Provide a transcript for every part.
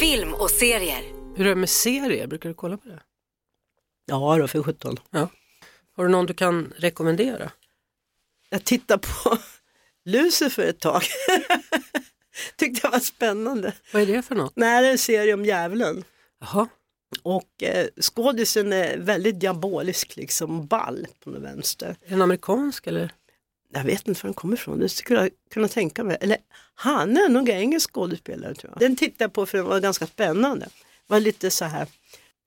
Film och serier. Hur är det med serier? Brukar du kolla på det? Ja då, för 17. Ja. Har du någon du kan rekommendera? Jag tittade på Lucifer ett tag. Tyckte det var spännande. Vad är det för något? Nej, det är en serie om djävulen. Jaha, Och eh, skådisen är väldigt diabolisk liksom, ball på den vänster. är den amerikansk eller? Jag vet inte var den kommer ifrån, det skulle jag kunna tänka mig. Eller han är nog engelsk skådespelare tror jag. Den tittade jag på för den var ganska spännande. Var lite så här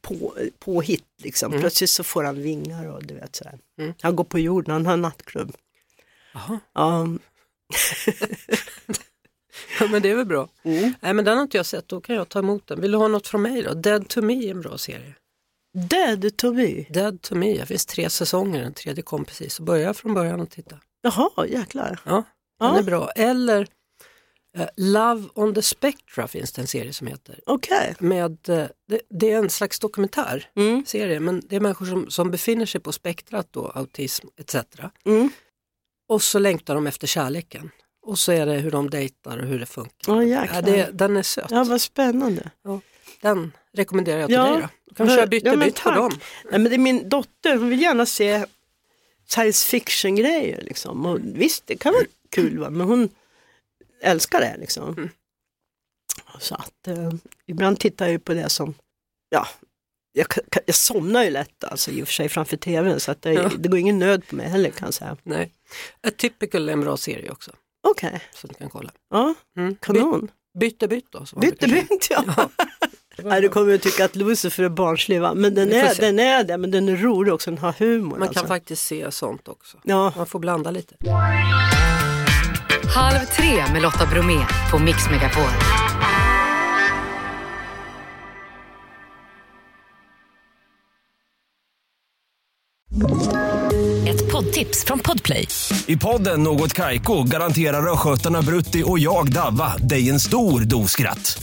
på, påhitt liksom. Plötsligt så får han vingar och du vet så här. Han går på jorden, han har en nattklubb. Jaha, Ja, ja, men det är väl bra. Mm. Nej men den har inte jag sett, då kan jag ta emot den. Vill du ha något från mig då? Dead to me är en bra serie. Dead to me. Dead to me, det finns tre säsonger, den tredje kom precis. Så börja från början och titta. Jaha, jäklar. Ja, den Ja. är bra. Eller eh, Love on the Spectra finns det en serie som heter. Okej. med, eh, det, det är en slags dokumentär, Mm, serie, men det är människor som, som befinner sig på spektrat då, autism etc. Mm. Och så längtar de efter kärleken. Och så är det hur de dejtar och hur det funkar. Åh Ja, jäklar. det, den är söt. Ja, vad spännande. Den rekommenderar jag till Ja. dig då. Du kan köra byte Ja, men byte på tack. dem. Nej, men det är min dotter, hon vill gärna se science fiction-grejer. Liksom. Och visst, det kan vara kul, va? men hon älskar det. Liksom. Så att, eh, ibland tittar jag ju på det som, ja, jag, kan- kan- jag somnar ju lätt alltså, i och för sig framför tvn, så att det, Ja. det går ingen nöd på mig heller kan jag säga. Nej. A Typical är en bra serie också, Okej, så du kan kolla. ja, Mm. kanon. By, byte byte då. som man Bytte brukar säga. bynt, ja. Nej, du kommer att tycka att Lucifer är barnslig va? Men den Vi får är, se. den är det, men den är rolig också, den har humor. Man alltså. kan faktiskt se sånt också. Ja. Man får blanda lite. Halv tre med Lotta Bromé på Mix Megapol. Ett poddtips från Podplay. I podden Något Kaiko garanterar östgötarna Brutti och jag, Davva, dig en stor dos skratt.